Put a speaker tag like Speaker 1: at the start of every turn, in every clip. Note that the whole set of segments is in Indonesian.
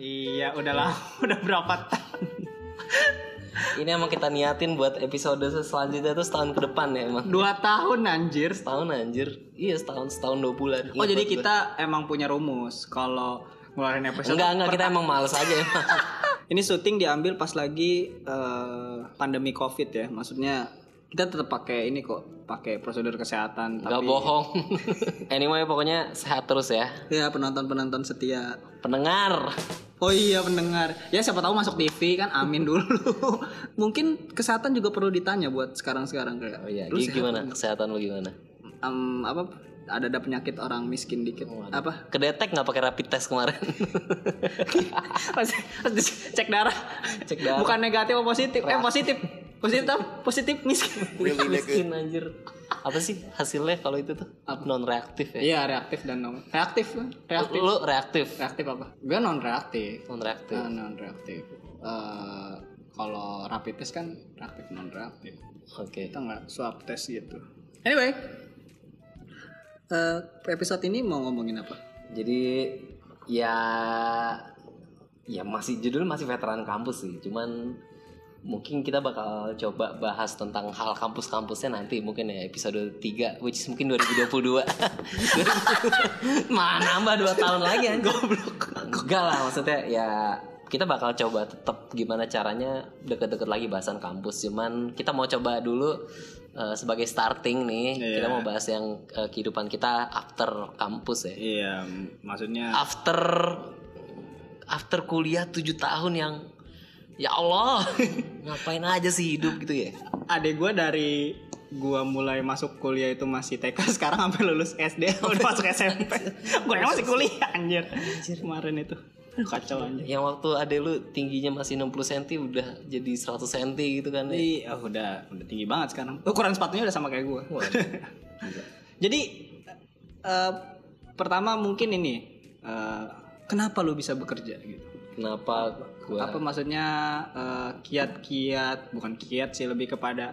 Speaker 1: Iya, udah lama, udah berapa tahun.
Speaker 2: Ini emang kita niatin buat episode selanjutnya tuh setahun ke depan ya emang.
Speaker 1: Dua tahun anjir.
Speaker 2: Setahun anjir. Iya setahun setahun dua bulan.
Speaker 1: Oh,
Speaker 2: Iya,
Speaker 1: jadi
Speaker 2: buat gua.
Speaker 1: kita emang punya rumus kalau ngeluarin episode.
Speaker 2: Enggak enggak kita emang males aja emang.
Speaker 1: Ini syuting diambil pas lagi eh, pandemi Covid ya. Maksudnya kita tetap pakai ini kok, pakai prosedur kesehatan
Speaker 2: Enggak
Speaker 1: tapi
Speaker 2: bohong. anyway pokoknya sehat terus ya.
Speaker 1: ya penonton-penonton setia.
Speaker 2: Pendengar.
Speaker 1: Oh iya pendengar. Ya siapa tahu masuk TV kan amin dulu. Mungkin kesehatan juga perlu ditanya buat sekarang-sekarang kayak.
Speaker 2: Oh iya,
Speaker 1: lu
Speaker 2: Gi,
Speaker 1: sehat
Speaker 2: gimana kesehatan lu gimana?
Speaker 1: em, apa ada ada penyakit orang miskin dikit apa
Speaker 2: Kedetek nggak pakai rapid test kemarin?
Speaker 1: cek darah
Speaker 2: Cek darah.
Speaker 1: bukan negatif atau positif eh positif positif apa? positif miskin
Speaker 2: Miskin anjir. Apa sih hasilnya kalau itu tuh? Non reaktif ya.
Speaker 1: iya reaktif dan non reaktif reaktif
Speaker 2: Lu reaktif.
Speaker 1: reaktif apa gue non reaktif
Speaker 2: Non reaktif.
Speaker 1: non reaktif Eh, kalau rapid test kan reaktif non reaktif
Speaker 2: Oke.
Speaker 1: kita nggak swab test gitu anyway eh, episode ini mau ngomongin apa
Speaker 2: Jadi ya ya masih judul masih veteran kampus sih. Cuman mungkin kita bakal coba bahas tentang hal kampus-kampusnya nanti mungkin ya episode 3 which is mungkin 2022. Mana nambah 2 tahun lagi anjir. Enggak lah maksudnya ya kita bakal coba tetap gimana caranya deket-deket lagi bahasan kampus cuman kita mau coba dulu eh, sebagai starting nih kita mau bahas yang eh, kehidupan kita after kampus ya
Speaker 1: iya maksudnya
Speaker 2: after after kuliah 7 tahun yang ya Allah ngapain aja sih hidup gitu ya
Speaker 1: adek gue dari gue mulai masuk kuliah itu masih TK sekarang sampai lulus SD udah masuk SMP gue masih kuliah anjir. kemarin itu Aduh, kacau anjir
Speaker 2: yang waktu ade lu tingginya masih 60 cm udah jadi 100 cm gitu kan ya.
Speaker 1: jadi ah, udah udah tinggi banget sekarang Oh, ukuran sepatunya udah sama kayak gue jadi eh, pertama mungkin ini eh, kenapa lu bisa bekerja gitu
Speaker 2: kenapa gua
Speaker 1: apa maksudnya eh, kiat-kiat bukan kiat sih lebih kepada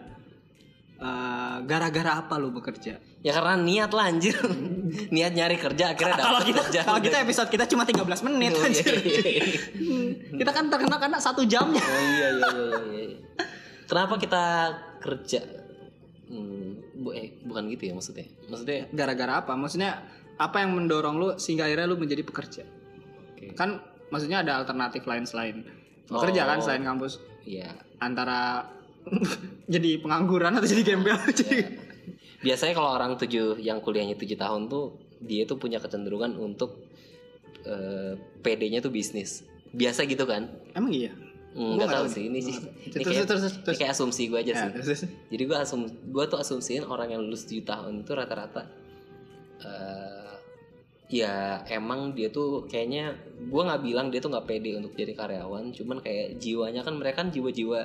Speaker 1: eh, gara-gara apa lu bekerja
Speaker 2: ya karena niat lah anjir niat nyari kerja akhirnya
Speaker 1: kalau
Speaker 2: dapat
Speaker 1: kita
Speaker 2: kerja
Speaker 1: kalau kita episode kita cuma 13 menit
Speaker 2: Oh,
Speaker 1: anjir.
Speaker 2: iya, iya, iya.
Speaker 1: kita kan terkena karena satu jamnya
Speaker 2: Oh, iya, iya, iya, iya, iya. kenapa kita kerja hmm, bu eh bukan gitu ya maksudnya maksudnya
Speaker 1: gara-gara apa maksudnya apa yang mendorong lu sehingga akhirnya lu menjadi pekerja
Speaker 2: oke.
Speaker 1: kan maksudnya ada alternatif lain selain bekerja
Speaker 2: Oh.
Speaker 1: kan selain kampus
Speaker 2: Iya.
Speaker 1: antara jadi pengangguran atau jadi gembel jadi
Speaker 2: biasanya kalau orang tujuh yang kuliahnya tujuh tahun tuh dia tuh punya kecenderungan untuk eh, PD-nya tuh bisnis biasa gitu kan
Speaker 1: emang iya
Speaker 2: Hmm,
Speaker 1: Gua
Speaker 2: nggak tahu
Speaker 1: tahu
Speaker 2: sih ini sih ini
Speaker 1: Terus,
Speaker 2: kayak,
Speaker 1: terus, terus, terus.
Speaker 2: ini kayak asumsi gue aja
Speaker 1: Ya,
Speaker 2: sih
Speaker 1: terus, terus.
Speaker 2: jadi gue asum gue tuh asumsiin orang yang lulus 7 tahun itu rata-rata eh, ya emang dia tuh kayaknya gue nggak bilang dia tuh nggak pede untuk jadi karyawan cuman kayak jiwanya kan mereka kan jiwa-jiwa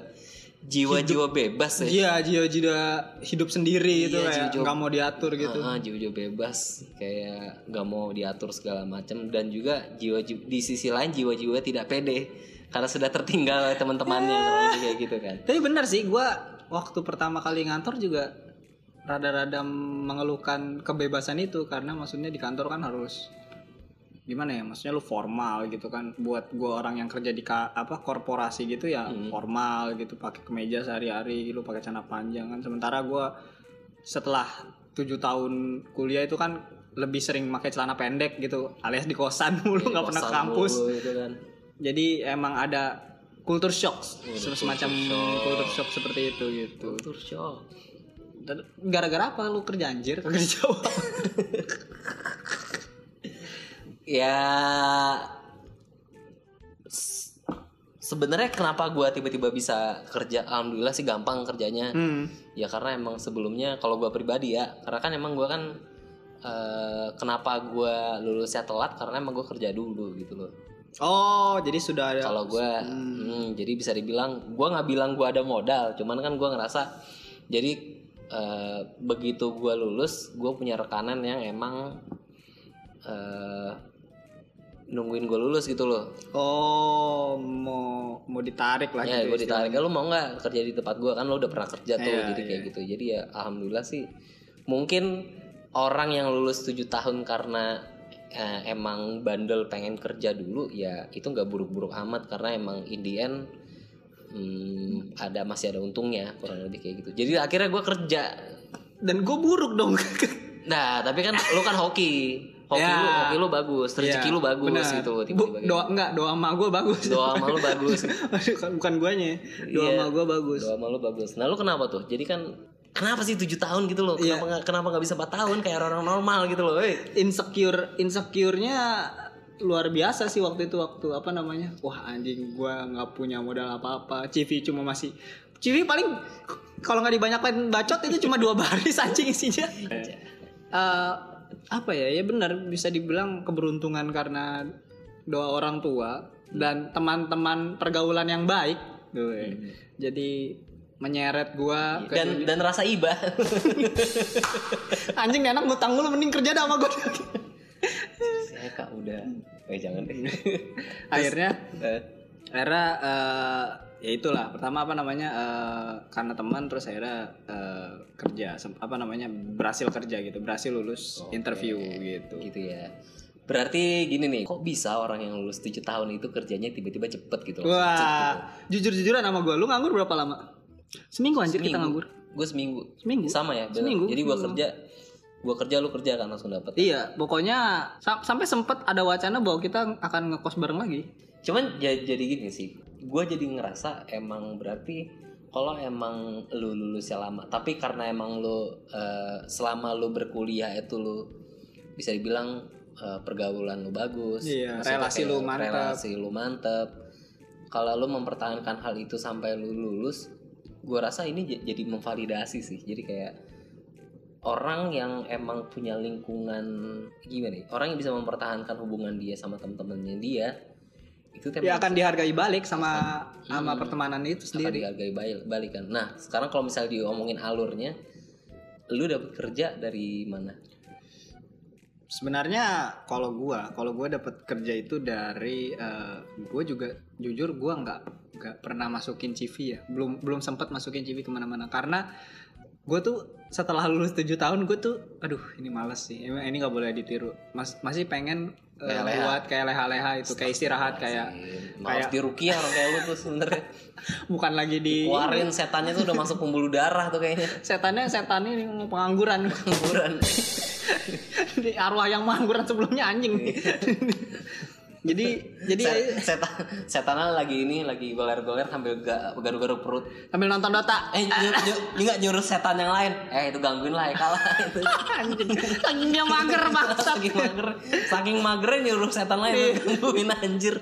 Speaker 2: jiwa-jiwa bebas ya
Speaker 1: Iya, jiwa jiwa hidup sendiri gitu
Speaker 2: Iya,
Speaker 1: kayak
Speaker 2: jiwa-jiwa.
Speaker 1: nggak mau diatur gitu.
Speaker 2: Ah, ah, jiwa-jiwa bebas kayak nggak mau diatur segala macam dan juga jiwa di sisi lain jiwa-jiwa tidak pede karena sudah tertinggal oleh
Speaker 1: Ya.
Speaker 2: teman-temannya kurang lebih kayak gitu kan
Speaker 1: Tapi benar sih, gue waktu pertama kali ngantor juga rada-rada mengeluhkan kebebasan itu karena maksudnya di kantor kan harus gimana ya, maksudnya lu formal gitu kan. Buat gue orang yang kerja di ka- apa korporasi gitu ya
Speaker 2: Hmm.
Speaker 1: formal gitu, pakai kemeja sehari-hari, lu pakai celana panjang kan. Sementara gue setelah tujuh tahun kuliah itu kan lebih sering pakai celana pendek gitu, alias di kosan mulu nggak pernah ke
Speaker 2: Kosan
Speaker 1: kampus
Speaker 2: mulu gitu kan
Speaker 1: jadi emang ada culture shock semacam
Speaker 2: shock.
Speaker 1: culture shock seperti itu gitu
Speaker 2: Culture shock.
Speaker 1: Dan gara-gara apa lu kerja anjir kagak dijawab
Speaker 2: ya s- sebenarnya kenapa gua tiba-tiba bisa kerja alhamdulillah sih gampang kerjanya
Speaker 1: hmm.
Speaker 2: ya karena emang sebelumnya kalau gue pribadi ya karena kan emang gue kan eh, kenapa gue lulusnya telat karena emang gue kerja dulu gitu loh
Speaker 1: oh jadi sudah ada
Speaker 2: kalau gue hmm, jadi bisa dibilang gue nggak bilang gue ada modal cuman kan gue ngerasa jadi eh, begitu gue lulus gue punya rekanan yang emang eh, nungguin gue lulus gitu loh
Speaker 1: oh mau mau ditarik lah
Speaker 2: ya
Speaker 1: gitu
Speaker 2: gue ditarik "Eh, lu mau nggak kerja di tempat gue kan lu udah pernah kerja tuh
Speaker 1: Iya,
Speaker 2: jadi kayak gitu jadi ya alhamdulillah sih mungkin orang yang lulus 7 tahun karena eh, emang bandel pengen kerja dulu ya itu nggak buruk-buruk amat karena emang in the end hmm, ada masih ada untungnya kurang lebih kayak gitu jadi akhirnya gue kerja
Speaker 1: Dan gue buruk dong.
Speaker 2: nah tapi kan lu kan hoki hoki
Speaker 1: Ya.
Speaker 2: lu hoki lu bagus rezeki
Speaker 1: Iya,
Speaker 2: lu bagus
Speaker 1: benar.
Speaker 2: gitu
Speaker 1: Bu-
Speaker 2: tiba-tiba
Speaker 1: doa enggak doa emak gue bagus.
Speaker 2: gitu. doa sama lu bagus
Speaker 1: Bukan- Bukan guanya. ya. Doa
Speaker 2: Iya.
Speaker 1: emak gue bagus.
Speaker 2: doa sama lu bagus nah lu kenapa tuh jadi kan kenapa sih 7 tahun gitu loh
Speaker 1: Iya.
Speaker 2: kenapa nggak kenapa nggak bisa 4 tahun kayak orang normal gitu loh eh.
Speaker 1: insecure insecure-nya luar biasa sih waktu itu waktu apa namanya wah anjing gua nggak punya modal apa-apa CV cuma masih CV paling kalau nggak dibanyakin bacot itu cuma dua baris anjing isinya Eh, apa ya ya benar bisa dibilang keberuntungan karena doa orang tua dan teman-teman pergaulan yang baik Tuh, ya. jadi menyeret gua ke
Speaker 2: dan dan rasa iba
Speaker 1: anjing nih anak ngutang mulu mending kerja dah sama gua
Speaker 2: saya kak udah
Speaker 1: Hmm.
Speaker 2: eh jangan deh
Speaker 1: akhirnya
Speaker 2: Eh,
Speaker 1: akhirnya eh, ya itulah pertama apa namanya eh, karena teman terus akhirnya eh, kerja sem- apa namanya berhasil kerja gitu berhasil lulus
Speaker 2: Oke.
Speaker 1: interview gitu
Speaker 2: gitu ya berarti gini nih kok bisa orang yang lulus 7 tahun itu kerjanya tiba-tiba cepet gitu loh
Speaker 1: wah jujur jujuran sama gue lu nganggur berapa lama seminggu anjir kita nganggur
Speaker 2: gue seminggu
Speaker 1: Seminggu?
Speaker 2: sama ya bener.
Speaker 1: Seminggu, Hmm.
Speaker 2: jadi gue
Speaker 1: seminggu.
Speaker 2: kerja gue kerja lu kerja kan langsung dapet
Speaker 1: iya pokoknya sam- sampai sempet ada wacana bahwa kita akan ngekos bareng lagi
Speaker 2: cuman ya, jadi gini sih gue jadi ngerasa emang berarti kalau emang lu lulusnya lama tapi karena emang lu eh, selama lu berkuliah itu lu bisa dibilang eh, pergaulan lu bagus
Speaker 1: Iya,
Speaker 2: Maksudnya
Speaker 1: relasi
Speaker 2: kayak
Speaker 1: lu mantep.
Speaker 2: relasi lu mantep kalau lu mempertahankan hal itu sampai lu lulus gue rasa ini j- jadi memvalidasi sih jadi kayak orang yang emang punya lingkungan gimana ya? orang yang bisa mempertahankan hubungan dia sama temen-temennya dia itu tuh
Speaker 1: ya
Speaker 2: emang
Speaker 1: akan dihargai balik sama sama
Speaker 2: Hmm.
Speaker 1: pertemanan itu
Speaker 2: akan
Speaker 1: sendiri
Speaker 2: dihargai bal- balikan. Nah, sekarang kalau misalnya diomongin alurnya, lu dapat kerja dari mana?
Speaker 1: sebenarnya kalau gua kalau gua dapat kerja itu dari eh, gua juga jujur gua nggak nggak pernah masukin CV ya belum belum sempat masukin CV kemana-mana karena gue tuh setelah lulus 7 tahun gue tuh aduh ini males sih Emang ini nggak boleh ditiru Mas, masih pengen eh,
Speaker 2: Leha-leha.
Speaker 1: buat kayak leha-leha itu kayak istirahat kayak kayak-
Speaker 2: maaf
Speaker 1: Iya.
Speaker 2: di rukiah orang kayak lu tuh sebenernya
Speaker 1: bukan lagi di
Speaker 2: keluarin setannya tuh udah masuk pembuluh darah tuh kayaknya
Speaker 1: setannya setannya ini mau pengangguran
Speaker 2: Pengangguran.
Speaker 1: Di arwah yang pengangguran sebelumnya anjing jadi jadi
Speaker 2: Set- setan setannya lagi ini lagi goler-goler sambil ga- garu-garu perut
Speaker 1: sambil nonton Dota
Speaker 2: eh nyur- nyur- nggak nyuruh setan yang lain eh itu gangguin lah ya kalah itu
Speaker 1: anjing Anjing dia mager bangsat
Speaker 2: saking mager saking magernya nyuruh setan lain
Speaker 1: Iya.
Speaker 2: lu gangguin anjir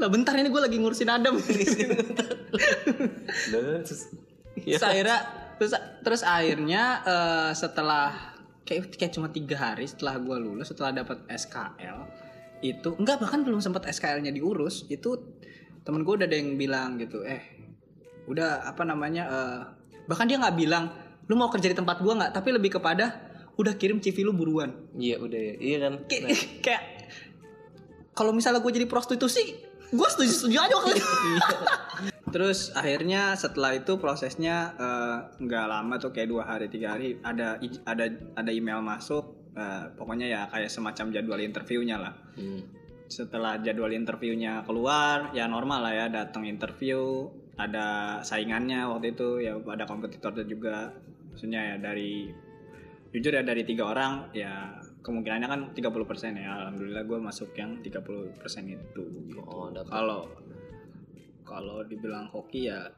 Speaker 1: lah bentar ini gue lagi ngurusin Adam
Speaker 2: Loh, terus- Iya.
Speaker 1: terus akhirnya terus, terus akhirnya eh, setelah kayak kayak cuma tiga hari setelah gue lulus setelah dapat SKL itu enggak bahkan belum sempat SKL-nya diurus itu temen gue udah ada yang bilang gitu eh udah apa namanya eh, bahkan dia nggak bilang lu mau kerja di tempat gue nggak tapi lebih kepada udah kirim CV lu buruan
Speaker 2: Iya udah ya. iya kan.
Speaker 1: Kayak- kayak kalau misalnya gue jadi prostitusi gue setuju setuju aja waktu itu. terus akhirnya setelah itu prosesnya eh, nggak lama tuh kayak dua hari tiga hari ada i- ada ada email masuk eh, pokoknya ya kayak semacam jadwal interviewnya lah
Speaker 2: Hmm.
Speaker 1: setelah jadwal interviewnya keluar ya normal lah ya datang interview ada saingannya waktu itu ya ada kompetitornya juga maksudnya ya dari jujur ya dari tiga orang ya kemungkinannya kan 30% ya alhamdulillah gue masuk yang 30% itu gitu.
Speaker 2: Oh, dapat.
Speaker 1: kalau kalau dibilang hoki ya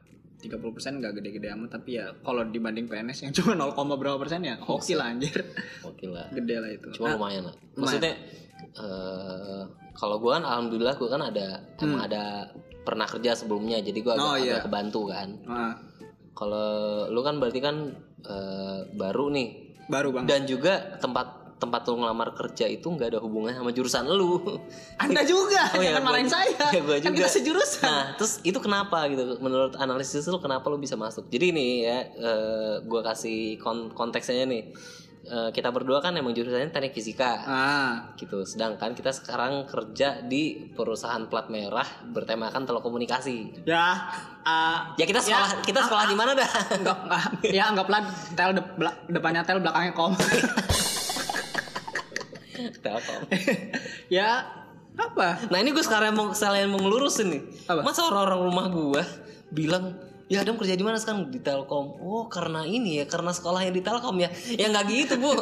Speaker 1: 30% nggak gede-gede amat tapi ya kalau dibanding PNS yang cuma 0, berapa persen ya hoki lah anjir
Speaker 2: Oke lah.
Speaker 1: gede lah itu
Speaker 2: Cuma
Speaker 1: Nah,
Speaker 2: Ah, lumayan lah. Maksudnya eh, kalau gue kan alhamdulillah gue kan ada emang ada pernah kerja sebelumnya jadi gue agak,
Speaker 1: Hmm. Oh, iya.
Speaker 2: agak kebantu kan.
Speaker 1: ah,
Speaker 2: Kalau lu kan berarti kan eh, baru nih
Speaker 1: baru bang
Speaker 2: dan juga tempat tempat lu ngelamar kerja itu nggak ada hubungannya sama jurusan lu.
Speaker 1: Anda juga,
Speaker 2: Oh ya,
Speaker 1: jangan marahin
Speaker 2: gua-
Speaker 1: saya.
Speaker 2: ya, gua
Speaker 1: Kan
Speaker 2: juga.
Speaker 1: kita sejurusan.
Speaker 2: Nah, terus itu kenapa gitu? Menurut analisis lu kenapa lu bisa masuk? Jadi nih ya, eh, gua kasih kon- konteksnya nih. Eh, kita berdua kan emang jurusannya teknik fisika
Speaker 1: Ah,
Speaker 2: gitu. Sedangkan kita sekarang kerja di perusahaan plat merah bertemakan telekomunikasi.
Speaker 1: ya, ah,
Speaker 2: Ya kita sekolah kita sekolah di mana dah?
Speaker 1: enggak,
Speaker 2: ah.
Speaker 1: enggak, ya anggaplah tel de- bela- depannya tel belakangnya kom.
Speaker 2: Telkom.
Speaker 1: ya apa
Speaker 2: Nah ini gue sekarang mau sekalian mau ngelurusin nih.
Speaker 1: Apa?
Speaker 2: Masa orang-orang rumah gue bilang Ya Adam kerja di mana sekarang di Telkom. Oh karena ini ya karena sekolahnya di Telkom ya. Ya nggak gitu bu.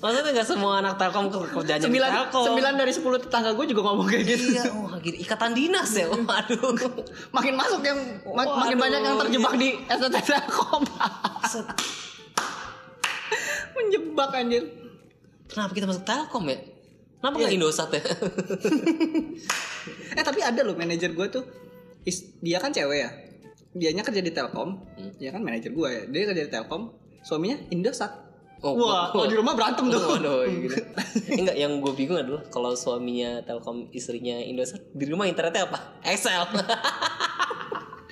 Speaker 2: Maksudnya nggak semua anak Telkom ke- kerjanya di
Speaker 1: sembilan
Speaker 2: Telkom.
Speaker 1: sembilan dari sepuluh tetangga gue juga ngomong kayak gitu
Speaker 2: Iya, wah gini. ikatan dinas ya. Waduh.
Speaker 1: makin masuk yang ma-
Speaker 2: Waduh.
Speaker 1: makin banyak yang terjebak di SNT Telkom
Speaker 2: Set.
Speaker 1: menjebak anjir
Speaker 2: Kenapa kita masuk Telkom ya? Kenapa
Speaker 1: Iya.
Speaker 2: nggak Indosat ya?
Speaker 1: eh tapi ada loh manajer gue tuh is- dia kan cewek ya dianya kerja di Telkom
Speaker 2: Hmm.
Speaker 1: dia kan manajer gue ya dia kerja di Telkom suaminya Indosat
Speaker 2: Oh,
Speaker 1: wah
Speaker 2: gua-
Speaker 1: kalau di rumah berantem tuh
Speaker 2: Waduh, gitu. Enggak, yang gue bingung adalah kalau suaminya Telkom, istrinya Indosat, di rumah internetnya apa? Excel.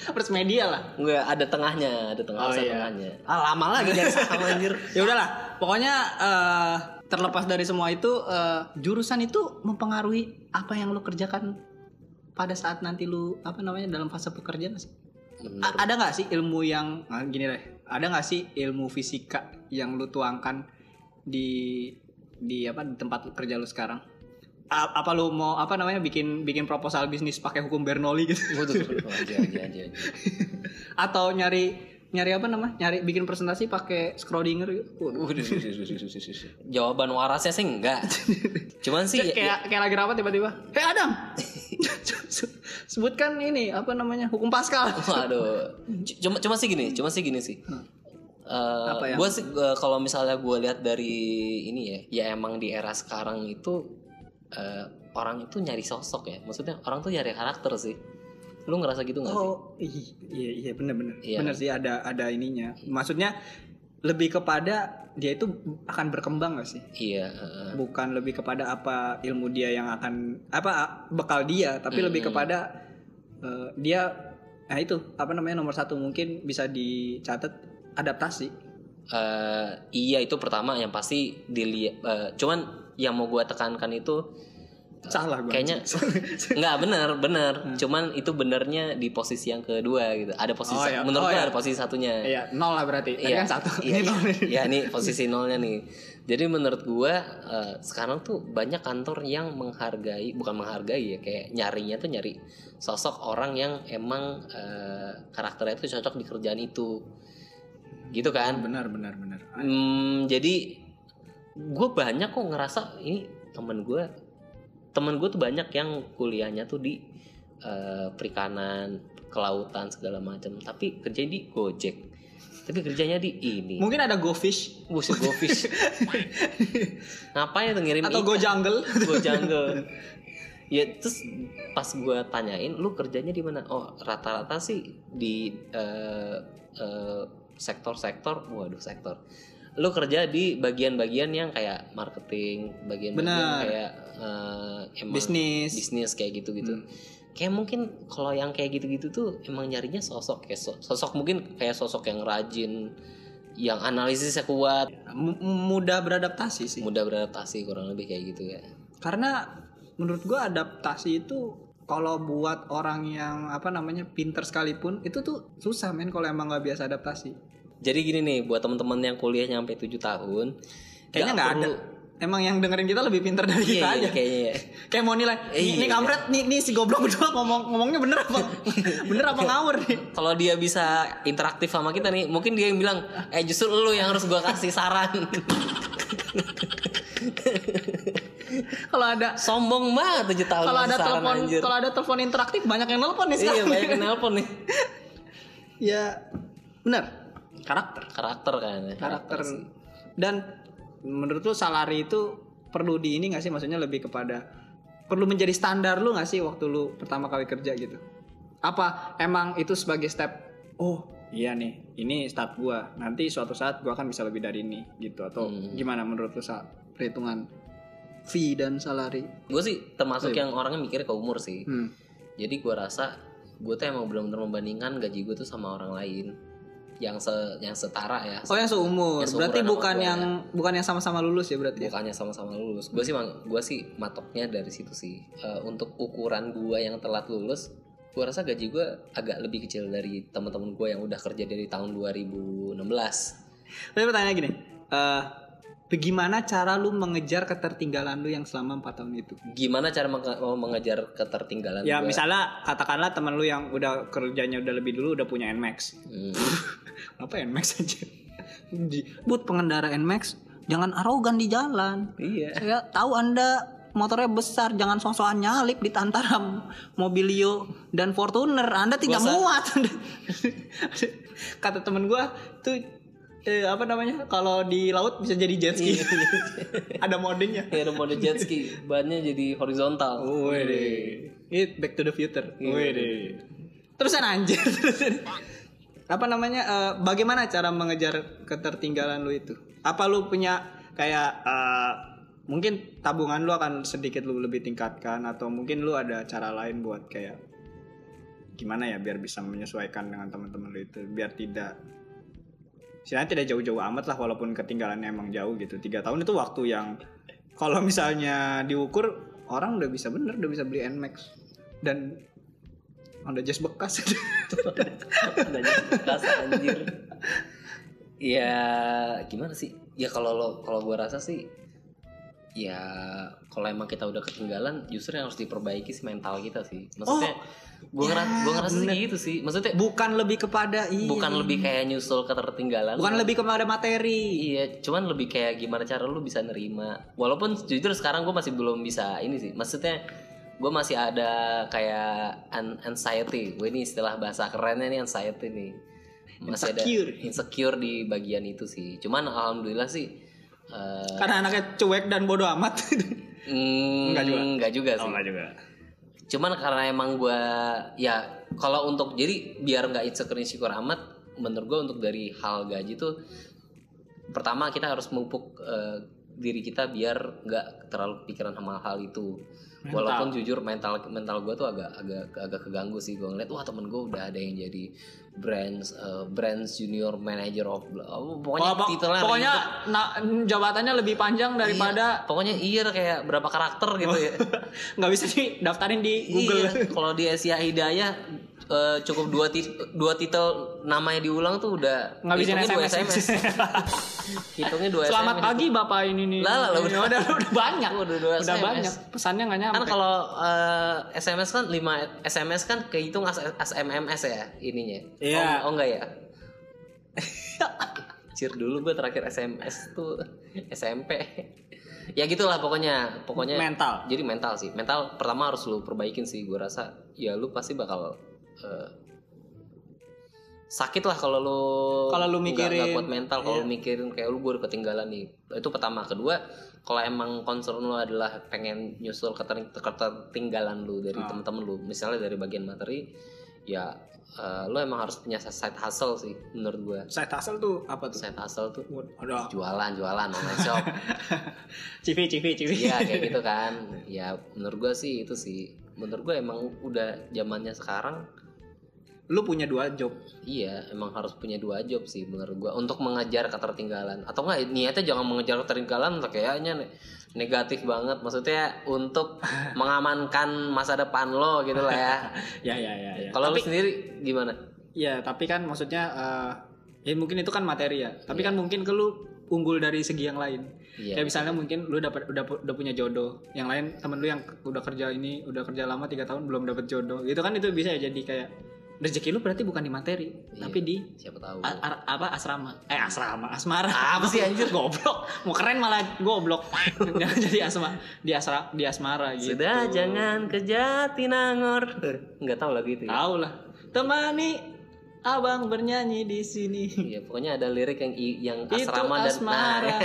Speaker 1: First media lah
Speaker 2: Enggak, ada tengahnya, ada tengah,
Speaker 1: Oh,
Speaker 2: ada
Speaker 1: iya.
Speaker 2: tengahnya. Ah, lama lagi dari saham anjir.
Speaker 1: ya udahlah pokoknya eh, terlepas dari semua itu eh, jurusan itu mempengaruhi apa yang lo kerjakan pada saat nanti lu apa namanya dalam fase pekerjaan nggak sih?
Speaker 2: Bener.
Speaker 1: A- ada nggak sih ilmu yang ah, gini deh ada nggak sih ilmu fisika yang lu tuangkan di di apa di tempat kerja lu sekarang A- apa lu mau apa namanya bikin bikin proposal bisnis pakai hukum Bernoulli gitu
Speaker 2: Gua tuh aja aja aja.
Speaker 1: atau nyari nyari apa namanya nyari bikin presentasi pakai Schrodinger gitu Waduh.
Speaker 2: Jawaban warasnya sih enggak. Cuman sih
Speaker 1: Kayak-
Speaker 2: ya-
Speaker 1: kayak kayak lagi rapat tiba-tiba hei Adam sebutkan ini apa namanya hukum Pascal
Speaker 2: ya, Waduh. C- Cuma cuma sih gini, cuma sih gini sih. Eh,
Speaker 1: Apa yang-
Speaker 2: gua sih eh, kalau misalnya gue lihat dari ini ya, ya emang di era sekarang itu eh, orang itu nyari sosok ya. Maksudnya orang tuh nyari karakter sih. Lu ngerasa gitu nggak sih?
Speaker 1: oh i- iya iya benar-benar
Speaker 2: Iya.
Speaker 1: benar sih ada ada ininya maksudnya lebih kepada dia itu akan berkembang gak sih
Speaker 2: Iya. eh, eh.
Speaker 1: bukan lebih kepada apa ilmu dia yang akan apa a- bekal dia tapi lebih kepada eh, dia nah itu apa namanya nomor satu mungkin bisa dicatat adaptasi
Speaker 2: Eh, iya itu pertama yang pasti dilihat. eh, cuman yang mau gue tekankan itu
Speaker 1: salah gue
Speaker 2: kayaknya nggak bener bener. Cuman itu benernya di posisi yang kedua gitu. Ada posisi
Speaker 1: Oh, iya. Oh,
Speaker 2: menurut gua
Speaker 1: iya.
Speaker 2: ada posisi satunya.
Speaker 1: iya nol lah berarti tadi kan satu
Speaker 2: Iya,
Speaker 1: ini nol
Speaker 2: iya. Iya, ini posisi nolnya nih. Jadi menurut gua eh, sekarang tuh banyak kantor yang menghargai, bukan menghargai ya, kayak nyarinya tuh nyari sosok orang yang emang eh, karakternya tuh cocok di kerjaan itu. Gitu kan?
Speaker 1: benar benar benar
Speaker 2: Hmm, jadi gue banyak kok ngerasa ini temen gue temen gue tuh banyak yang kuliahnya tuh di eh, perikanan kelautan segala macam tapi kerja di gojek tapi kerjanya di ini
Speaker 1: mungkin ada gofish
Speaker 2: buset gofish ngapain tuh ngirim
Speaker 1: atau
Speaker 2: ikan?
Speaker 1: go jungle
Speaker 2: gue jungle ya terus pas gue tanyain lu kerjanya di mana oh rata-rata sih di eh, eh, sektor-sektor waduh sektor lu kerja di bagian-bagian yang kayak marketing bagian-bagian
Speaker 1: Benar.
Speaker 2: kayak eh, emang
Speaker 1: bisnis Hmm.
Speaker 2: bisnis kayak gitu-gitu kayak mungkin kalau yang kayak gitu-gitu tuh emang nyarinya sosok kayak so- sosok mungkin kayak sosok yang rajin yang analisisnya kuat
Speaker 1: M- mudah beradaptasi sih
Speaker 2: mudah beradaptasi kurang lebih kayak gitu ya
Speaker 1: karena menurut gua adaptasi itu kalau buat orang yang apa namanya pinter sekalipun itu tuh susah men kalau emang nggak biasa adaptasi
Speaker 2: Jadi gini nih buat teman-teman yang kuliah nyampe 7 tahun,
Speaker 1: kayaknya nggak ada
Speaker 2: perlu-
Speaker 1: emang yang dengerin kita lebih pinter dari
Speaker 2: Iya,
Speaker 1: kita
Speaker 2: iya,
Speaker 1: aja
Speaker 2: kayaknya ya.
Speaker 1: kayak mau nilai
Speaker 2: Iya,
Speaker 1: ini
Speaker 2: iya.
Speaker 1: kampret nih nih si goblok berdua ngomong ngomongnya bener apa bener apa ngawur nih
Speaker 2: Kalau dia bisa interaktif sama kita nih, mungkin dia yang bilang, "Eh justru lu yang harus gua kasih saran."
Speaker 1: kalau ada
Speaker 2: Sombong banget 7 tahun
Speaker 1: kalau
Speaker 2: ngasih
Speaker 1: ada
Speaker 2: saran,
Speaker 1: telepon
Speaker 2: anjir.
Speaker 1: kalau ada telepon interaktif banyak yang nelpon nih
Speaker 2: Iya,
Speaker 1: sekarang
Speaker 2: banyak yang nelpon nih.
Speaker 1: ya bener karakter
Speaker 2: Karakter kan. ya.
Speaker 1: karakter dan menurut lu salary itu perlu di ini nggak sih maksudnya lebih kepada perlu menjadi standar lu nggak sih waktu lu pertama kali kerja gitu apa emang itu sebagai step oh iya nih ini start gua nanti suatu saat gua akan bisa lebih dari ini gitu atau
Speaker 2: Hmm.
Speaker 1: gimana menurut lu saat perhitungan fee dan salary
Speaker 2: Gue sih termasuk yang orangnya mikirnya ke umur sih.
Speaker 1: Iya. hmm.
Speaker 2: Jadi gue rasa gue tuh emang benar-benar membandingkan gaji gue tuh sama orang lain yang se yang setara ya.
Speaker 1: oh yang seumur
Speaker 2: Yang seumuran ya.
Speaker 1: berarti
Speaker 2: sama
Speaker 1: bukan
Speaker 2: gua,
Speaker 1: yang bukan yang sama-sama lulus ya berarti ya?
Speaker 2: bukannya sama-sama lulus gue sih mang- gua sih matoknya dari situ sih Eh, untuk ukuran gue yang telat lulus gue rasa gaji gue agak lebih kecil dari teman-teman gue yang udah kerja dari tahun 2016
Speaker 1: Tapi pertanyaan gini, eh Bagaimana cara lu mengejar ketertinggalan lu yang selama 4 tahun itu?
Speaker 2: Gimana cara menge- mau mengejar ketertinggalan?
Speaker 1: Ya
Speaker 2: gua?
Speaker 1: misalnya katakanlah teman lu yang udah kerjanya udah lebih dulu udah punya Nmax.
Speaker 2: Hmm.
Speaker 1: Apa Nmax aja? Di- Buat pengendara Nmax jangan arogan di jalan.
Speaker 2: Iya.
Speaker 1: Saya tahu Anda motornya besar, jangan sosokan nyalip di antara Mobilio dan Fortuner. Anda tidak
Speaker 2: Gua sa-
Speaker 1: muat. Kata temen gua tuh eh, apa namanya? Kalau di laut bisa jadi jet ski. Ada modenya.
Speaker 2: Ya ada mode jet ski, bannya jadi horizontal.
Speaker 1: Wede. It back to the future. Wede. Terusan anjir. terusan. Apa namanya? eh, bagaimana cara mengejar ketertinggalan lu itu? Apa lu punya kayak eh, mungkin tabungan lu akan sedikit lu lebih tingkatkan atau mungkin lu ada cara lain buat kayak gimana ya biar bisa menyesuaikan dengan teman-teman lu itu biar tidak Sebenarnya tidak jauh-jauh amat lah walaupun ketinggalannya emang jauh gitu. Tiga tahun itu waktu yang kalau misalnya diukur orang udah bisa bener udah bisa beli Nmax dan Honda Jazz bekas.
Speaker 2: Ada bekas anjir. Ya gimana sih? Ya kalau lo kalau gua rasa sih ya kalau emang kita udah ketinggalan justru yang harus diperbaiki sih mental kita sih. Maksudnya gua
Speaker 1: ya,
Speaker 2: ngera- gua ngerasa sih
Speaker 1: bener.
Speaker 2: gitu sih. Maksudnya
Speaker 1: bukan lebih kepada iya.
Speaker 2: bukan lebih kayak nyusul ketertinggalan.
Speaker 1: bukan lebih kepada materi.
Speaker 2: Iya, cuman lebih kayak gimana cara lu bisa nerima. Walaupun jujur sekarang gue masih belum bisa ini sih. Maksudnya gue masih ada kayak an- anxiety. Gue ini istilah bahasa kerennya nih anxiety nih. Masih
Speaker 1: Insecure.
Speaker 2: ada insecure di bagian itu sih. Cuman alhamdulillah sih. eh,
Speaker 1: Karena anaknya cuek dan bodoh amat.
Speaker 2: mm,
Speaker 1: Enggak juga.
Speaker 2: enggak juga sih.
Speaker 1: juga.
Speaker 2: Cuman karena emang gue ya kalau untuk jadi biar nggak insecure insecure amat, menurut gue untuk dari hal gaji tuh pertama kita harus memupuk eh, diri kita biar nggak terlalu pikiran sama hal itu. Walaupun jujur mental mental gue tuh agak agak agak keganggu sih gue ngeliat wah temen gue udah ada yang jadi brands eh, brands junior manager of oh, pokoknya titelnya
Speaker 1: pokoknya na- jabatannya lebih panjang daripada
Speaker 2: pokoknya iya kayak berapa karakter gitu ya.
Speaker 1: nggak bisa didaftarin di Google.
Speaker 2: Iya, kalau di Asia Hidayah eh, cukup dua tit- dua titel namanya diulang tuh udah
Speaker 1: Ngabisin
Speaker 2: hitungnya dua
Speaker 1: SMS.
Speaker 2: SMS. hitungnya dua
Speaker 1: Selamat
Speaker 2: SMS.
Speaker 1: pagi Bapak ini nih.
Speaker 2: Lah, lah, lah,
Speaker 1: udah, udah, udah banyak.
Speaker 2: Udah, udah SMS.
Speaker 1: banyak. Pesannya nggak nyampe.
Speaker 2: Kan kalau eh, SMS kan 5 SMS kan kehitung as, as MMS ya ininya.
Speaker 1: Iya.
Speaker 2: Oh, oh enggak ya. Cir dulu gue terakhir SMS tuh SMP. ya gitulah pokoknya. Pokoknya
Speaker 1: mental.
Speaker 2: jadi mental sih mental pertama harus lu perbaikin sih gue rasa ya lu pasti bakal eh, sakit lah kalau lu
Speaker 1: Kalau lu
Speaker 2: nggak-
Speaker 1: mikirin, iya.
Speaker 2: nggak kuat mental kalau lu mikirin kayak lu gue udah ketinggalan nih itu pertama kedua kalau emang concern lu adalah pengen nyusul keter- ketertinggalan lu
Speaker 1: Ah.
Speaker 2: dari temen-temen lu misalnya dari bagian materi ya eh, lu emang harus punya side hustle sih menurut gue
Speaker 1: Saya tasel tuh apa tuh?
Speaker 2: side hustle tuh
Speaker 1: Ada
Speaker 2: jualan jualan online shop
Speaker 1: CV CV CV.
Speaker 2: Iya kayak gitu kan. Ya menurut gua sih itu sih. Menurut gua emang udah zamannya sekarang.
Speaker 1: Lu punya dua job.
Speaker 2: Iya emang harus punya dua job sih menurut gua untuk mengejar ketertinggalan atau enggak niatnya jangan mengejar ketertinggalan kayaknya ne- negatif banget maksudnya untuk mengamankan masa depan lo gitu lah ya.
Speaker 1: Ya ya ya. ya.
Speaker 2: Kalau lu sendiri gimana?
Speaker 1: Ya tapi kan maksudnya eh, ya mungkin itu kan materi ya. Tapi kan mungkin ke lu unggul dari segi yang lain.
Speaker 2: Iya.
Speaker 1: Kayak misalnya mungkin lu dapat udah udah punya jodoh, yang lain temen lu yang udah kerja ini udah kerja lama tiga tahun belum dapat jodoh, gitu kan itu bisa ya jadi kayak rezeki lu berarti bukan di materi,
Speaker 2: Iya.
Speaker 1: tapi di
Speaker 2: Siapa tahu.
Speaker 1: A- ar- apa asrama eh asrama asmara
Speaker 2: Apa sih, anjir?
Speaker 1: goblok mau keren malah goblok jangan jadi asma di asra di asmara gitu
Speaker 2: Sudah jangan ke Jatinangor. Enggak tahu lagi itu. ya.
Speaker 1: tahu lah temani abang bernyanyi di sini
Speaker 2: Iya, pokoknya ada lirik yang i- yang
Speaker 1: Itu
Speaker 2: asrama dan nah.
Speaker 1: asmara.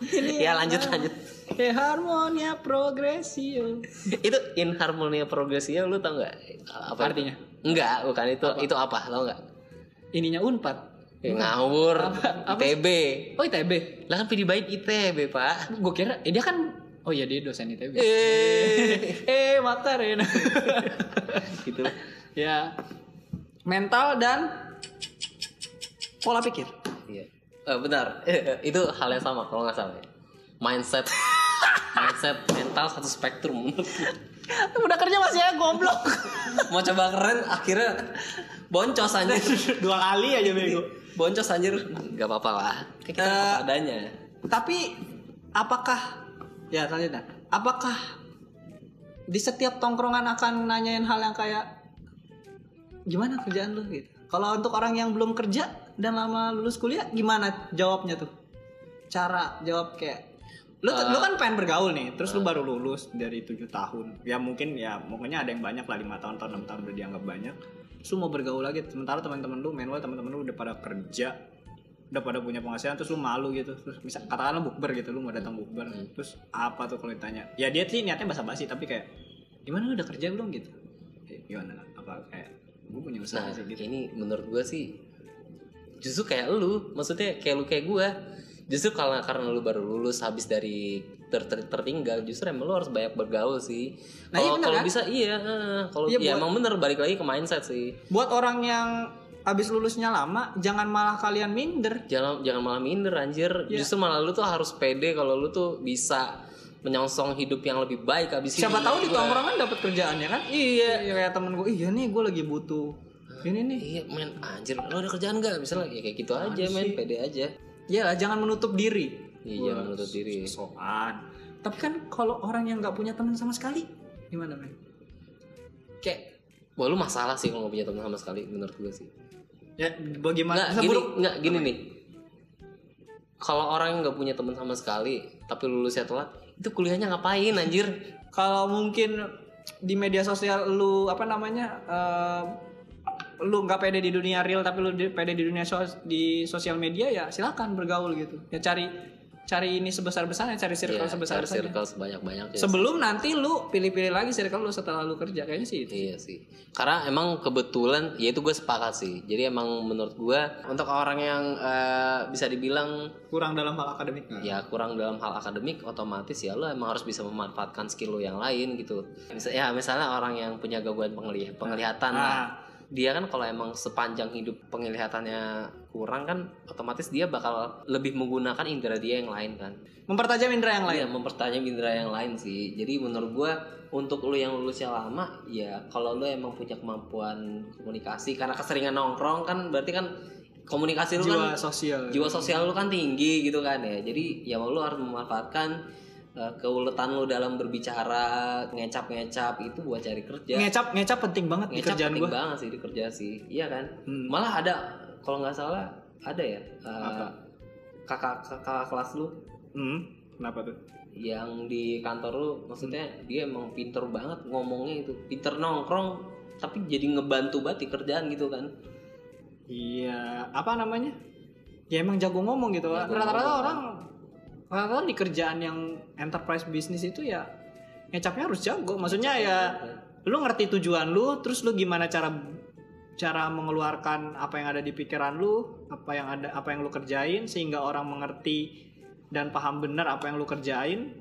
Speaker 1: Ini
Speaker 2: ya lanjut
Speaker 1: asmara.
Speaker 2: lanjut.
Speaker 1: eh harmonia progresio
Speaker 2: itu in harmonia progresio lu tau nggak apa itu?
Speaker 1: artinya
Speaker 2: enggak bukan itu itu apa tau nggak
Speaker 1: ininya unpad
Speaker 2: Ya, ngawur ITB
Speaker 1: oh itb
Speaker 2: lah kan pilih baik ITB pak
Speaker 1: gue kira eh, dia kan oh iya dia dosen itb
Speaker 2: eh
Speaker 1: eh mata Rena
Speaker 2: gitu
Speaker 1: ya mental dan pola pikir
Speaker 2: iya Eh, benar itu hal yang sama kalau nggak salah ya. mindset mindset mental satu spektrum
Speaker 1: udah kerja masih ya goblok
Speaker 2: mau coba keren akhirnya boncos anjir
Speaker 1: dua kali aja bego
Speaker 2: Eh, boncos anjir nggak apa-apa lah Kayak kita apa adanya
Speaker 1: tapi apakah ya selanjutnya apakah di setiap tongkrongan akan nanyain hal yang kayak gimana kerjaan lu gitu kalau untuk orang yang belum kerja dan lama lulus kuliah gimana jawabnya tuh cara jawab kayak lu, lu kan pengen bergaul nih terus lu baru lulus dari tujuh tahun ya mungkin ya pokoknya ada yang banyak lah lima tahun tahun enam tahun udah dianggap banyak terus lu mau bergaul lagi sementara teman-teman lu manual teman-teman lu udah pada kerja udah pada punya penghasilan terus lu malu gitu terus misal katakanlah bukber gitu lu mau datang bukber terus apa tuh kalau ditanya ya dia sih niatnya basa-basi tapi kayak gimana lu udah kerja belum gitu Eh, gimana apa kayak gue punya usaha
Speaker 2: Nah,
Speaker 1: sih gitu
Speaker 2: ini menurut gue sih justru kayak lu, maksudnya kayak lu kayak gue. Justru karena karena lu baru lulus habis dari ter- ter- tertinggal, justru emang lu harus banyak bergaul sih.
Speaker 1: Nah, iya
Speaker 2: Kalau
Speaker 1: bener
Speaker 2: kalau
Speaker 1: kan?
Speaker 2: bisa iya, eh, kalau
Speaker 1: Iya,
Speaker 2: ya,
Speaker 1: buat-
Speaker 2: emang bener balik lagi ke mindset sih.
Speaker 1: buat orang yang abis lulusnya lama jangan malah kalian minder
Speaker 2: Jangan jangan malah minder anjir.
Speaker 1: Iya.
Speaker 2: Justru malah lu tuh harus pede kalau lu tuh bisa menyongsong hidup yang lebih baik habis
Speaker 1: siapa
Speaker 2: ini. Iya,
Speaker 1: tahu di
Speaker 2: Gua-
Speaker 1: tongkrongan dapat kerjaan ya kan iya kayak temen gue iya nih gue lagi butuh ini nih
Speaker 2: Iya men anjir lu ada kerjaan gak? Misalnya ya kayak gitu aja men pede aja.
Speaker 1: Iya lah, jangan menutup diri.
Speaker 2: Iya,
Speaker 1: Wah,
Speaker 2: jangan menutup diri.
Speaker 1: Sosokan. Tapi kan kalau orang yang nggak punya teman sama sekali, gimana men?
Speaker 2: Kayak Wah lu masalah sih kalau gak punya teman sama sekali menurut gue sih.
Speaker 1: Ya bagaimana?
Speaker 2: Nggak, gini,
Speaker 1: Seburuk
Speaker 2: nggak, gini nih. Kalau orang yang nggak punya teman sama sekali, tapi lulusnya telat, itu kuliahnya ngapain anjir?
Speaker 1: kalau mungkin di media sosial lu apa namanya? eh, lu nggak pede di dunia real tapi lu di- pede di dunia sos- di sosial media ya silakan bergaul gitu. Ya cari cari ini sebesar-besarnya, Iya, cari circle
Speaker 2: Ya,
Speaker 1: sebesar
Speaker 2: cari
Speaker 1: besarnya.
Speaker 2: circle sebanyak-banyak ya.
Speaker 1: Sebelum nanti lu pilih-pilih lagi circle lu setelah lu kerja kayaknya sih. itu.
Speaker 2: Iya sih. Karena emang kebetulan, ya itu gue sepakat sih. Jadi emang menurut gue, untuk orang yang eh, bisa dibilang
Speaker 1: Kurang dalam hal akademik.
Speaker 2: ya kurang dalam hal akademik otomatis ya lo emang harus bisa memanfaatkan skill lo yang lain gitu Misa- ya misalnya orang yang punya gangguan pengelih- penglihatan lah
Speaker 1: Ah.
Speaker 2: dia kan kalau emang sepanjang hidup penglihatannya kurang kan otomatis dia bakal lebih menggunakan indera dia yang lain kan
Speaker 1: Mempertajam indera yang lain.
Speaker 2: lain mempertajam indera yang lain sih jadi menurut gua untuk lu yang lulusnya lama ya kalau lu emang punya kemampuan komunikasi karena keseringan nongkrong kan berarti kan komunikasi lu
Speaker 1: jiwa
Speaker 2: kan
Speaker 1: sosial
Speaker 2: jiwa sosial lu kan tinggi gitu kan ya jadi ya lu harus memanfaatkan uh, keuletan lu dalam berbicara ngecap-ngecap itu buat cari kerja
Speaker 1: ngecap ngecap penting banget di
Speaker 2: Iya. ngecap
Speaker 1: kerjaan
Speaker 2: penting
Speaker 1: gue
Speaker 2: banget sih di kerja sih iya kan
Speaker 1: Hmm.
Speaker 2: malah ada kalau nggak salah ada ya uh,
Speaker 1: Apa?
Speaker 2: kakak kakak kelas lu
Speaker 1: hmm, kenapa tuh
Speaker 2: yang di kantor lu maksudnya
Speaker 1: Hmm.
Speaker 2: dia emang pinter banget ngomongnya itu pinter nongkrong tapi jadi ngebantu banget di kerjaan gitu kan
Speaker 1: iya apa namanya ya emang jago ngomong gitu
Speaker 2: Jago
Speaker 1: rata-rata
Speaker 2: ngomong,
Speaker 1: orang rata-rata di kerjaan yang enterprise bisnis itu ya ngecapnya harus jago maksudnya ya
Speaker 2: gitu kan.
Speaker 1: lu ngerti tujuan lu terus lu gimana cara cara mengeluarkan apa yang ada di pikiran lu apa yang ada apa yang lu kerjain sehingga orang mengerti dan paham benar apa yang lu kerjain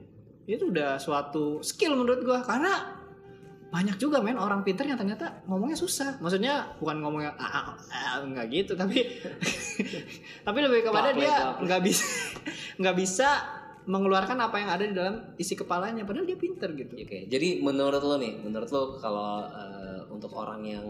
Speaker 1: itu udah suatu skill menurut gua karena banyak juga men orang pinter yang ternyata ngomongnya susah maksudnya bukan ngomongnya ah, ah, ah, nggak gitu tapi tapi lebih kepada
Speaker 2: Plak, plak,
Speaker 1: dia
Speaker 2: plak.
Speaker 1: nggak bisa nggak bisa mengeluarkan apa yang ada di dalam isi kepalanya padahal dia pinter gitu
Speaker 2: Oke, jadi menurut lo nih, menurut lo kalau eh, untuk orang yang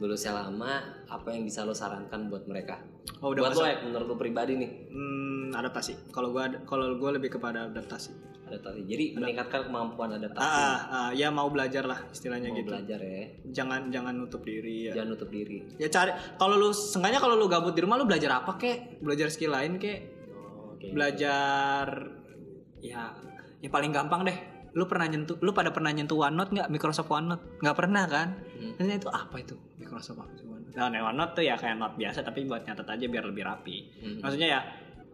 Speaker 2: lulusnya lama, apa yang bisa lo sarankan buat mereka?
Speaker 1: oh udah
Speaker 2: buat lo
Speaker 1: masuk
Speaker 2: ya, menurut lo pribadi nih,
Speaker 1: Hmm, adaptasi. Kalau gua kalau gua lebih kepada adaptasi.
Speaker 2: adaptasi. Jadi meningkatkan kemampuan adaptasi,
Speaker 1: Ah, ah, ya mau belajar lah istilahnya
Speaker 2: mau
Speaker 1: gitu.
Speaker 2: belajar ya,
Speaker 1: Jangan jangan nutup diri ya.
Speaker 2: jangan nutup diri.
Speaker 1: Ya cari kalau lu sengaja kalau lu gabut di rumah lu belajar apa kek? Belajar skill lain kek?
Speaker 2: Oke.
Speaker 1: Belajar ya yang paling gampang deh. Lu pernah nyentuh lu pada pernah nyentuh OneNote nggak? Microsoft OneNote? nggak pernah kan?
Speaker 2: Hmm.
Speaker 1: Ternyata itu apa itu? Microsoft OneNote. Nah, OneNote tuh ya kayak note biasa tapi buat nyatet aja biar lebih rapi.
Speaker 2: Hmm.
Speaker 1: maksudnya ya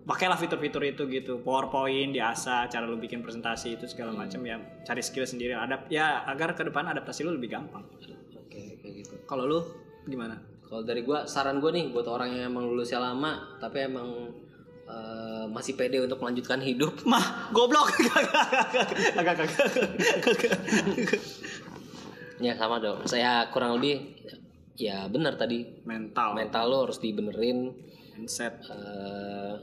Speaker 1: pakailah fitur-fitur itu gitu powerpoint diasah cara lu bikin presentasi itu segala macam ya cari skill sendiri ada ya agar ke depan adaptasi lu lebih gampang
Speaker 2: Oke, kayak gitu.
Speaker 1: kalau lu gimana
Speaker 2: Kalau dari gua, saran gua nih buat orang yang emang lulusnya lama, tapi emang eh, masih pede untuk melanjutkan hidup,
Speaker 1: mah goblok agak agak
Speaker 2: ya sama dong. Saya kurang lebih, ya benar tadi
Speaker 1: mental
Speaker 2: mental lo harus dibenerin.
Speaker 1: mindset
Speaker 2: eh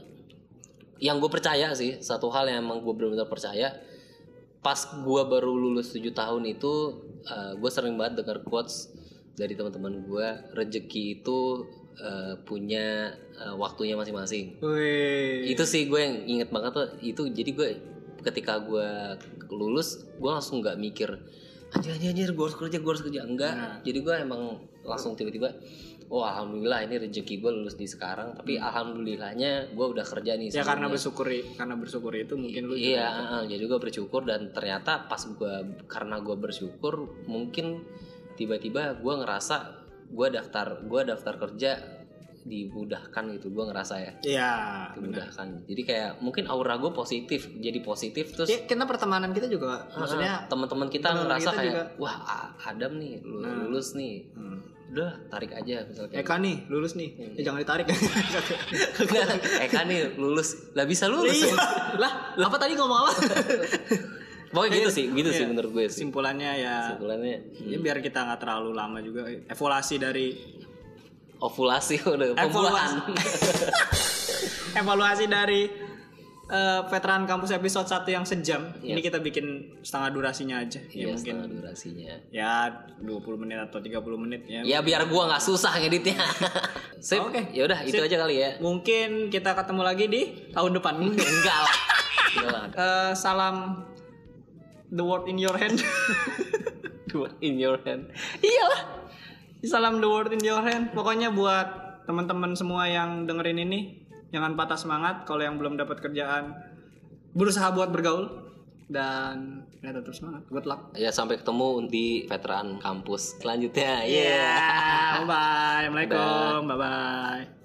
Speaker 2: yang gue percaya sih satu hal yang emang gue benar-benar percaya pas gue baru lulus 7 tahun itu eh, gue sering banget dengar quotes dari teman-teman gue rezeki itu eh, punya eh, waktunya masing-masing
Speaker 1: Wih.
Speaker 2: itu sih gue yang inget banget tuh itu jadi gue ketika gue lulus gue langsung nggak mikir anjir anjir anjir gue harus kerja gue harus kerja enggak
Speaker 1: Iya.
Speaker 2: jadi gue emang langsung tiba-tiba oh alhamdulillah ini rezeki gue lulus di sekarang tapi alhamdulillahnya gue udah kerja nih
Speaker 1: Hmm. ya karena
Speaker 2: sebelumnya.
Speaker 1: bersyukur karena bersyukur itu mungkin lu gitu.
Speaker 2: Iya, heeh, jadi gue bersyukur dan ternyata pas gue karena gue bersyukur mungkin tiba-tiba gue ngerasa gue daftar gue daftar kerja dimudahkan gitu gue ngerasa ya
Speaker 1: iya benar
Speaker 2: dimudahkan jadi kayak mungkin aura gue positif jadi positif terus
Speaker 1: ya, kita pertemanan kita juga
Speaker 2: heeh,
Speaker 1: maksudnya
Speaker 2: teman-teman kita
Speaker 1: teman-teman
Speaker 2: ngerasa
Speaker 1: kita
Speaker 2: kayak wah A- Adam nih lu-
Speaker 1: Nah.
Speaker 2: lulus nih
Speaker 1: hmm.
Speaker 2: udah tarik aja misalnya gitu.
Speaker 1: Eka nih lulus nih
Speaker 2: Hmm.
Speaker 1: ya, jangan ditarik ya,
Speaker 2: Eka nih lulus lah bisa lulus
Speaker 1: Iya. lah apa tadi ngomong apa
Speaker 2: pokoknya gitu sih gitu sih
Speaker 1: Iya.
Speaker 2: menurut gue sih
Speaker 1: simpulannya ya
Speaker 2: simpulannya
Speaker 1: ya biar kita nggak terlalu lama juga evaluasi dari
Speaker 2: ovulasi udah pembuahan
Speaker 1: evaluasi dari eh, veteran kampus episode 1 yang sejam
Speaker 2: Iya.
Speaker 1: ini kita bikin setengah durasinya aja ya,
Speaker 2: Iya,
Speaker 1: mungkin
Speaker 2: setengah durasinya.
Speaker 1: ya 20 menit atau 30 menit ya
Speaker 2: Ya biar gua nggak susah ngeditnya. Sip.
Speaker 1: Oke.
Speaker 2: Ya udah itu
Speaker 1: Sip.
Speaker 2: aja kali ya.
Speaker 1: mungkin kita ketemu lagi di tahun depan
Speaker 2: Enggak lah. Enggak lah.
Speaker 1: Eh, salam the world in your hand
Speaker 2: Dua in your hand.
Speaker 1: iyalah salam the world in your hand pokoknya buat teman-teman semua yang dengerin ini jangan patah semangat kalau yang belum dapat kerjaan berusaha buat bergaul dan ya tetap semangat good luck
Speaker 2: Ya sampai ketemu di veteran kampus selanjutnya. Iya.
Speaker 1: yeah. bye bye assalamualaikum bye bye